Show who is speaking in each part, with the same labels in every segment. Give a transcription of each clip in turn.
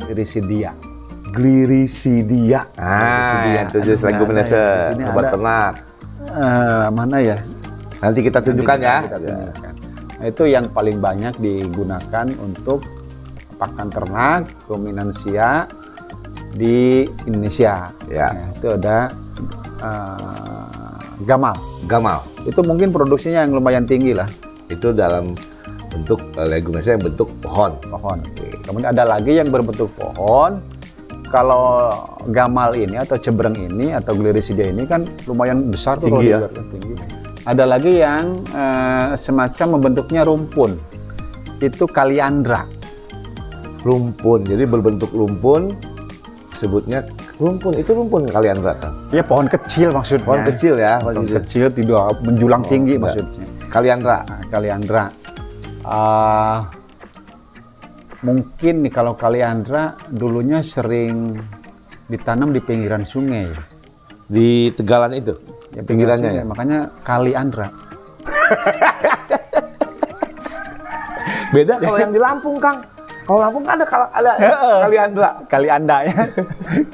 Speaker 1: glirisidia.
Speaker 2: Glirisidia.
Speaker 1: Glirisidia.
Speaker 2: Ah, itu jenis
Speaker 1: Aduh, nggak ada ya.
Speaker 2: leguminase,
Speaker 1: Ini
Speaker 2: obat
Speaker 1: ada.
Speaker 2: ternak.
Speaker 1: Eh, mana ya?
Speaker 2: Nanti kita tunjukkan ya.
Speaker 1: Kita tunjukkan. Nah, itu yang paling banyak digunakan untuk pakan ternak dominansia di Indonesia.
Speaker 2: Ya.
Speaker 1: Nah, itu ada eh, gamal.
Speaker 2: Gamal.
Speaker 1: Itu mungkin produksinya yang lumayan tinggi lah
Speaker 2: Itu dalam bentuk eh, leguminase yang bentuk pohon.
Speaker 1: pohon. Kemudian ada lagi yang berbentuk pohon. Kalau gamal ini atau cebreng ini atau glirisidia ini kan lumayan besar tuh
Speaker 2: Tinggi
Speaker 1: kalau dilihat, kan? tinggi. ya? Ada lagi yang eh, semacam membentuknya rumpun. Itu kaliandra.
Speaker 2: Rumpun. Jadi berbentuk rumpun sebutnya rumpun. Itu rumpun kalian Kang.
Speaker 1: Ya pohon kecil maksudnya.
Speaker 2: Pohon kecil ya, pohon
Speaker 1: Pohon
Speaker 2: kecil.
Speaker 1: kecil tidak menjulang tinggi
Speaker 2: enggak.
Speaker 1: maksudnya.
Speaker 2: Kaliandra.
Speaker 1: Nah, kaliandra. Eh, mungkin nih kalau kaliandra dulunya sering ditanam di pinggiran sungai.
Speaker 2: di Tegalan itu
Speaker 1: Ya,
Speaker 2: pinggirannya ya
Speaker 1: sungai, Makanya kali Andra.
Speaker 2: beda kalau yang di Lampung Kang kalau Lampung kan ada kal ada
Speaker 1: Heeh.
Speaker 2: Kaliandra
Speaker 1: Kali Anda ya.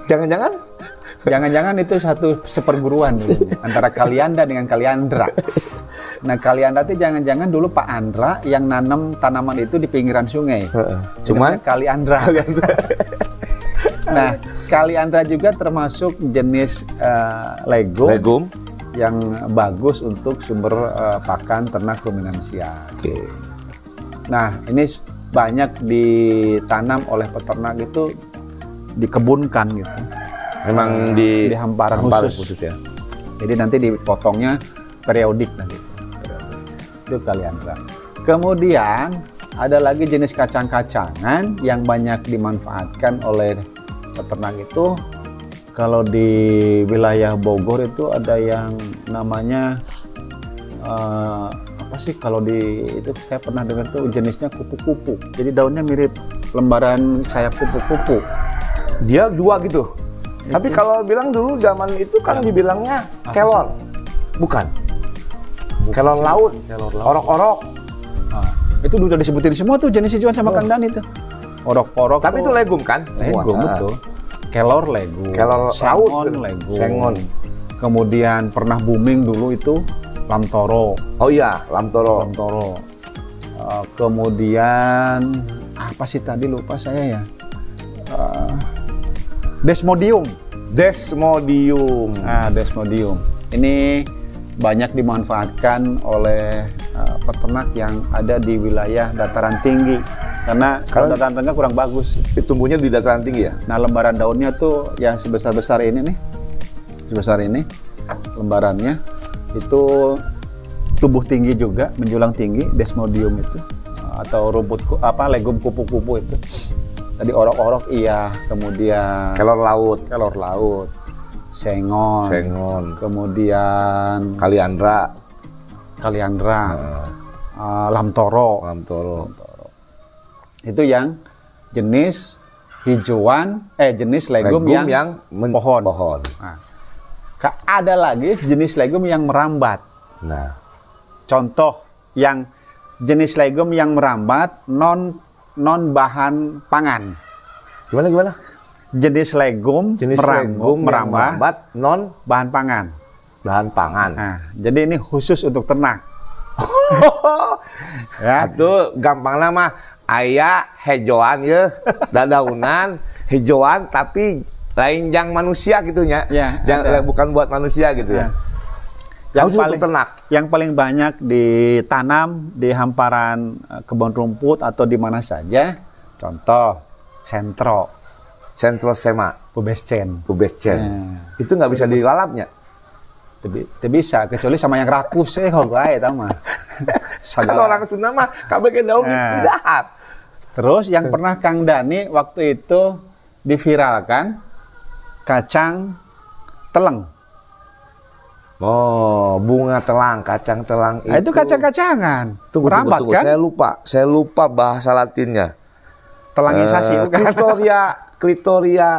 Speaker 2: jangan-jangan
Speaker 1: Jangan-jangan itu satu seperguruan dulunya, antara kali Anda dengan kali Andra. Nah, kali Anda itu jangan-jangan dulu Pak Andra yang nanam tanaman itu di pinggiran sungai.
Speaker 2: Heeh. cuman
Speaker 1: Namanya kali Andra.
Speaker 2: Kaliandra
Speaker 1: Nah, kali Andra juga termasuk jenis eh, lego
Speaker 2: legum
Speaker 1: yang bagus untuk sumber eh, pakan ternak ruminansia.
Speaker 2: oke
Speaker 1: Nah, ini s- banyak ditanam oleh peternak itu dikebunkan gitu.
Speaker 2: memang di,
Speaker 1: Di hamparan khusus.
Speaker 2: ya
Speaker 1: Jadi nanti dipotongnya periodik nanti. Itu kalian Pak. Kemudian ada lagi jenis kacang-kacangan yang banyak dimanfaatkan oleh peternak itu kalau di wilayah Bogor itu ada yang namanya eh, apa sih kalau di itu saya pernah dengar tuh jenisnya kupu-kupu. Jadi daunnya mirip lembaran sayap kupu-kupu.
Speaker 2: dia dua gitu tapi kalau bilang dulu zaman itu kan dibilangnya kelon bukan kelon laut
Speaker 1: Kelon laut.
Speaker 2: orok-orok
Speaker 1: Ah, itu udah disebutin semua tuh jenis hijauan sama Kang Dan itu. Orok-orok.
Speaker 2: Oh. tapi itu
Speaker 1: tuh
Speaker 2: legum kan semua
Speaker 1: legum
Speaker 2: Heeh.
Speaker 1: betul. Kelor lego,
Speaker 2: Kelor
Speaker 1: sengon
Speaker 2: laut,
Speaker 1: lego.
Speaker 2: sengon.
Speaker 1: Kemudian pernah booming dulu itu lamtoro,
Speaker 2: oh iya lamtoro
Speaker 1: lamtoro. Eh, kemudian apa sih tadi lupa saya ya. Eh, Desmodium.
Speaker 2: desmodium
Speaker 1: Ah, Desmodium. Ini banyak dimanfaatkan oleh eh, peternak yang ada di wilayah dataran tinggi karena kalau
Speaker 2: Karena-
Speaker 1: dataran tengah kurang bagus.
Speaker 2: tumbuhnya di dataran tinggi ya
Speaker 1: Nah, lembaran daunnya tuh yang sebesar-besar ini nih. Sebesar ini lembarannya itu tubuh tinggi juga, menjulang tinggi Desmodium itu atau rumput ku- apa legum kupu-kupu itu. Tadi orok-orok iya, kemudian
Speaker 2: kelon laut
Speaker 1: kelor laut,
Speaker 2: Ah.
Speaker 1: sengon,
Speaker 2: sengon
Speaker 1: kemudian
Speaker 2: Kaliandra,
Speaker 1: kaliandra,
Speaker 2: eh,
Speaker 1: eh, lamtoro.
Speaker 2: kolam toro.
Speaker 1: Itu yang jenis hijauan eh jenis legum,
Speaker 2: Legum
Speaker 1: yang
Speaker 2: yang men-
Speaker 1: pohon.
Speaker 2: pohon.
Speaker 1: Nah, ka- ada lagi jenis legum yang merambat.
Speaker 2: Nah,
Speaker 1: Contoh yang jenis legum yang merambat non non bahan pangan.
Speaker 2: gimana gimana?
Speaker 1: Jenis legum
Speaker 2: Jenis
Speaker 1: meram-
Speaker 2: legum yang
Speaker 1: merambat
Speaker 2: merambat non
Speaker 1: bahan pangan.
Speaker 2: bahan pangan.
Speaker 1: Nah, jadi ini khusus untuk ternak.
Speaker 2: Ah.
Speaker 1: ya,
Speaker 2: Itu gampang nama aya hejoan ya, dadaunan hejoan tapi lain yang manusia gitu ya.
Speaker 1: Ya,
Speaker 2: Yang-
Speaker 1: ada.
Speaker 2: bukan buat manusia gitu
Speaker 1: Ya.
Speaker 2: ya. Yang
Speaker 1: Yang
Speaker 2: untuk
Speaker 1: paling-
Speaker 2: ternak.
Speaker 1: yang paling banyak ditanam di hamparan eh, kebun rumput atau di mana saja. Contoh sentro,
Speaker 2: Sentrosema,
Speaker 1: pubescen.
Speaker 2: ubescen.
Speaker 1: Nah.
Speaker 2: Itu nggak bisa dilalapnya.
Speaker 1: Tidak bisa, kecuali sama yang rakus eh kok gue tau mah.
Speaker 2: Kalau
Speaker 1: Segala.
Speaker 2: orang Sunda mah kabeh daun
Speaker 1: Nah.
Speaker 2: didahat.
Speaker 1: Terus yang pernah Kang Dani waktu itu diviralkan kacang teleng.
Speaker 2: Oh, bunga telang, kacang telang itu.
Speaker 1: Nah, itu kacang-kacangan.
Speaker 2: Tunggu, tunggu,
Speaker 1: Merambat
Speaker 2: tunggu.
Speaker 1: kan?
Speaker 2: Saya lupa, saya lupa bahasa Latinnya.
Speaker 1: Telangisasi
Speaker 2: Eh,
Speaker 1: bukan?
Speaker 2: Clitoria, clitoria,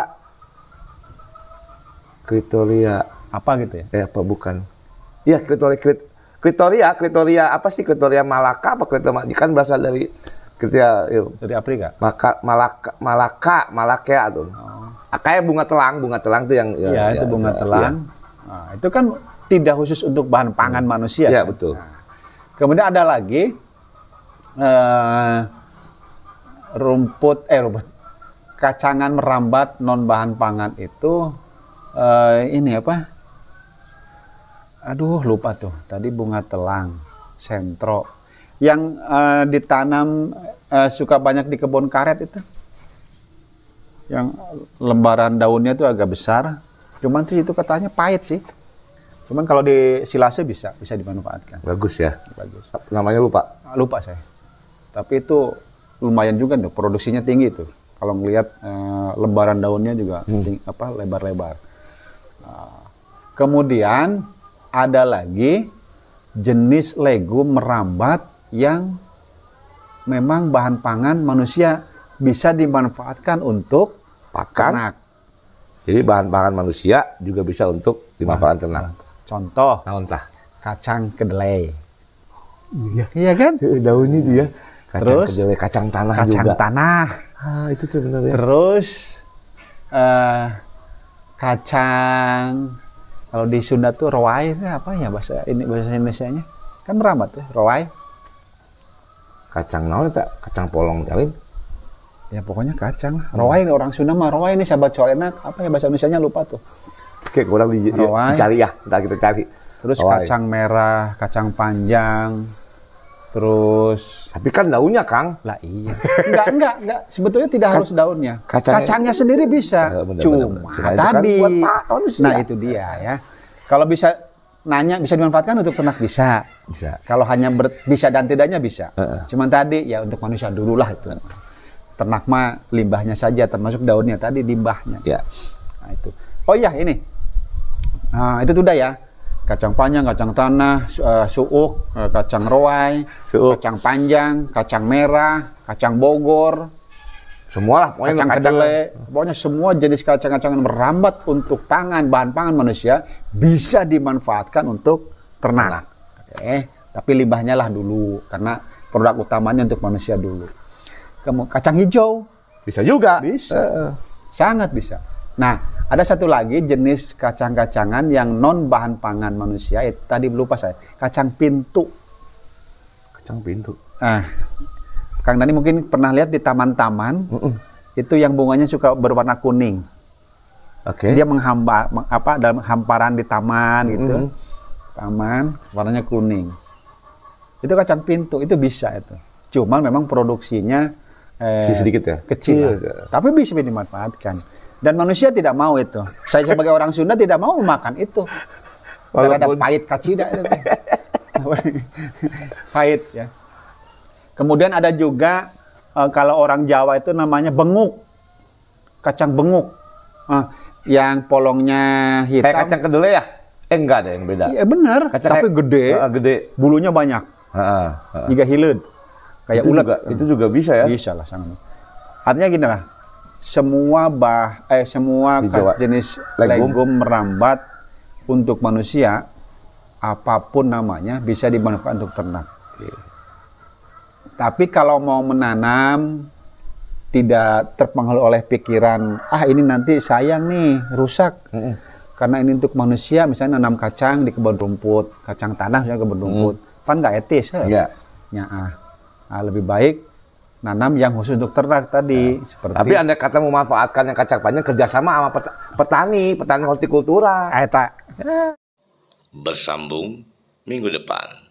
Speaker 2: clitoria.
Speaker 1: Apa gitu ya?
Speaker 2: Eh apa bukan? Iya clitoria, clit, clitoria, clitoria apa sih clitoria Malaka apa clitoria? Kan berasal dari Ketika yuk,
Speaker 1: dari Afrika.
Speaker 2: maka malaka malaka malakea tuh. Ah, Kayak bunga telang, bunga telang tuh yang
Speaker 1: Oh.
Speaker 2: ya,
Speaker 1: Iya, itu bunga telang. Nah, itu kan tidak khusus untuk bahan pangan manusia.
Speaker 2: Iya,
Speaker 1: kan?
Speaker 2: betul.
Speaker 1: Nah, kemudian ada lagi eh, rumput eh rumput kacangan merambat non bahan pangan itu eh, ini apa? Aduh, lupa tuh. Tadi bunga telang, sentro yang eh, ditanam eh, suka banyak di kebun karet itu yang lembaran daunnya itu agak besar. Cuman sih itu katanya pahit sih. Cuman kalau di silase bisa, bisa dimanfaatkan.
Speaker 2: Bagus ya.
Speaker 1: Bagus.
Speaker 2: Namanya lupa.
Speaker 1: Ah, Lupa saya. Tapi itu lumayan juga tuh, produksinya tinggi tuh. Kalau ngelihat eh, lembaran daunnya juga ting- apa lebar-lebar. Ah, kemudian ada lagi jenis legum merambat yang memang bahan pangan manusia bisa dimanfaatkan untuk
Speaker 2: Pakan.
Speaker 1: ternak.
Speaker 2: Jadi bahan pangan manusia juga bisa untuk
Speaker 1: Nah.
Speaker 2: dimanfaatkan ternak.
Speaker 1: Contoh
Speaker 2: Nah, entah.
Speaker 1: kacang kedelai.
Speaker 2: Iya.
Speaker 1: Iya kan?
Speaker 2: Daunnya dia. Kacang
Speaker 1: Terus?
Speaker 2: kedelai, kacang tanah
Speaker 1: Kacang
Speaker 2: juga.
Speaker 1: tanah.
Speaker 2: ah, itu tuh benar ya.
Speaker 1: Terus eh kacang kalau di Sunda tuh roai itu apa ya bahasa ini bahasa Indonesianya? Kan merambat ya, roai.
Speaker 2: Kacang naon tak? Kacang polong calin.
Speaker 1: Ya pokoknya kacang. Roai ini orang Sunda mah roai ini sahabat soal enak apa ya bahasa Indonesianya lupa tuh.
Speaker 2: Oke, kurang di,
Speaker 1: Rawai.
Speaker 2: cari ya. Entar kita cari.
Speaker 1: Terus
Speaker 2: Rawai.
Speaker 1: kacang merah, kacang panjang. Terus
Speaker 2: Tapi kan daunnya, Kang.
Speaker 1: lah iya. Enggak, enggak, enggak. Sebetulnya tidak harus daunnya.
Speaker 2: kacangnya-
Speaker 1: Kacangnya, sendiri bisa.
Speaker 2: Benar, benar,
Speaker 1: Cuma
Speaker 2: benar. Cuma itu kan
Speaker 1: tadi.
Speaker 2: buat manusia.
Speaker 1: nah, itu dia ya. Kalau bisa nanya bisa dimanfaatkan untuk ternak bisa.
Speaker 2: Bisa.
Speaker 1: Kalau hanya ber- bisa dan tidaknya bisa.
Speaker 2: Heeh.
Speaker 1: Cuman tadi ya untuk manusia dulu lah itu. Ternak mah limbahnya saja termasuk daunnya tadi limbahnya.
Speaker 2: Ya.
Speaker 1: Nah, itu. Oh iya ini. Nah, itu sudah ya. Kacang panjang, kacang tanah, su- eh, suuk, eh, kacang roai,
Speaker 2: Suuk.
Speaker 1: kacang panjang, kacang merah, kacang Bogor,
Speaker 2: Semualah pokoknya
Speaker 1: kacang kedelai, pokoknya semua jenis kacang-kacangan merambat untuk pangan, bahan pangan manusia bisa dimanfaatkan untuk ternak. Oke, tapi limbahnya lah dulu karena produk utamanya untuk manusia dulu. Kamu kacang hijau
Speaker 2: Bisa juga. Eh,
Speaker 1: bisa, sangat bisa. Nah, ada satu lagi jenis kacang-kacangan yang non bahan pangan manusia. Itu tadi lupa saya, kacang pintu.
Speaker 2: Kacang pintu.
Speaker 1: Ah, Kang Dani mungkin pernah lihat di taman-taman
Speaker 2: Mm-mm.
Speaker 1: itu yang bunganya suka berwarna kuning.
Speaker 2: Oke.
Speaker 1: Dia menghamba meng- apa dalam hamparan di taman gitu.
Speaker 2: Mhm.
Speaker 1: Taman warnanya kuning. Itu kacang pintu, itu bisa itu. Cuman memang produksinya eh,
Speaker 2: Si sedikit ya?
Speaker 1: Kecil. lah.
Speaker 2: Kecil.
Speaker 1: Iya, Tapi bisa dimanfaatkan. Dan manusia tidak mau itu. Saya sebagai orang Sunda tidak mau makan itu. Karena ada
Speaker 2: Walaupun-
Speaker 1: pahit kacida itu. teh. pahit ya. Kemudian ada juga eh, kalau orang Jawa itu namanya benguk. Kacang benguk. Ah, yang polongnya hitam.
Speaker 2: Kayak kacang kedelai ya? Eh enggak ada yang beda.
Speaker 1: Iya benar,
Speaker 2: Kacang
Speaker 1: tapi
Speaker 2: kayak-
Speaker 1: gede.
Speaker 2: Heeh, gede.
Speaker 1: Bulunya banyak.
Speaker 2: Heeh, heeh.
Speaker 1: Juga hileud. Kayak
Speaker 2: itu
Speaker 1: ulat.
Speaker 2: juga itu juga bisa ya.
Speaker 1: Bisa lah sangat. Artinya gini lah, semua bah eh semua
Speaker 2: Di
Speaker 1: ka-
Speaker 2: Jawa.
Speaker 1: jenis
Speaker 2: Legum.
Speaker 1: legum. merambat untuk manusia apapun namanya bisa dimanfaatkan untuk ternak.
Speaker 2: Iya.
Speaker 1: Tapi kalau mau menanam tidak terpengaruh oleh pikiran ah ini nanti sayang nih rusak
Speaker 2: Mm-mm.
Speaker 1: karena ini untuk manusia misalnya nanam kacang di kebun rumput kacang tanah misalnya
Speaker 2: Hmm.
Speaker 1: kebun rumput kan nggak etis ya
Speaker 2: Iya.
Speaker 1: Ya, ah. Ah, lebih baik nanam yang khusus untuk ternak tadi seperti
Speaker 2: Tapi anda kata memanfaatkan yang kacang panjang kerjasama sama pet- petani, petani hortikultura.
Speaker 1: Ah, eta.
Speaker 3: bersambung minggu depan.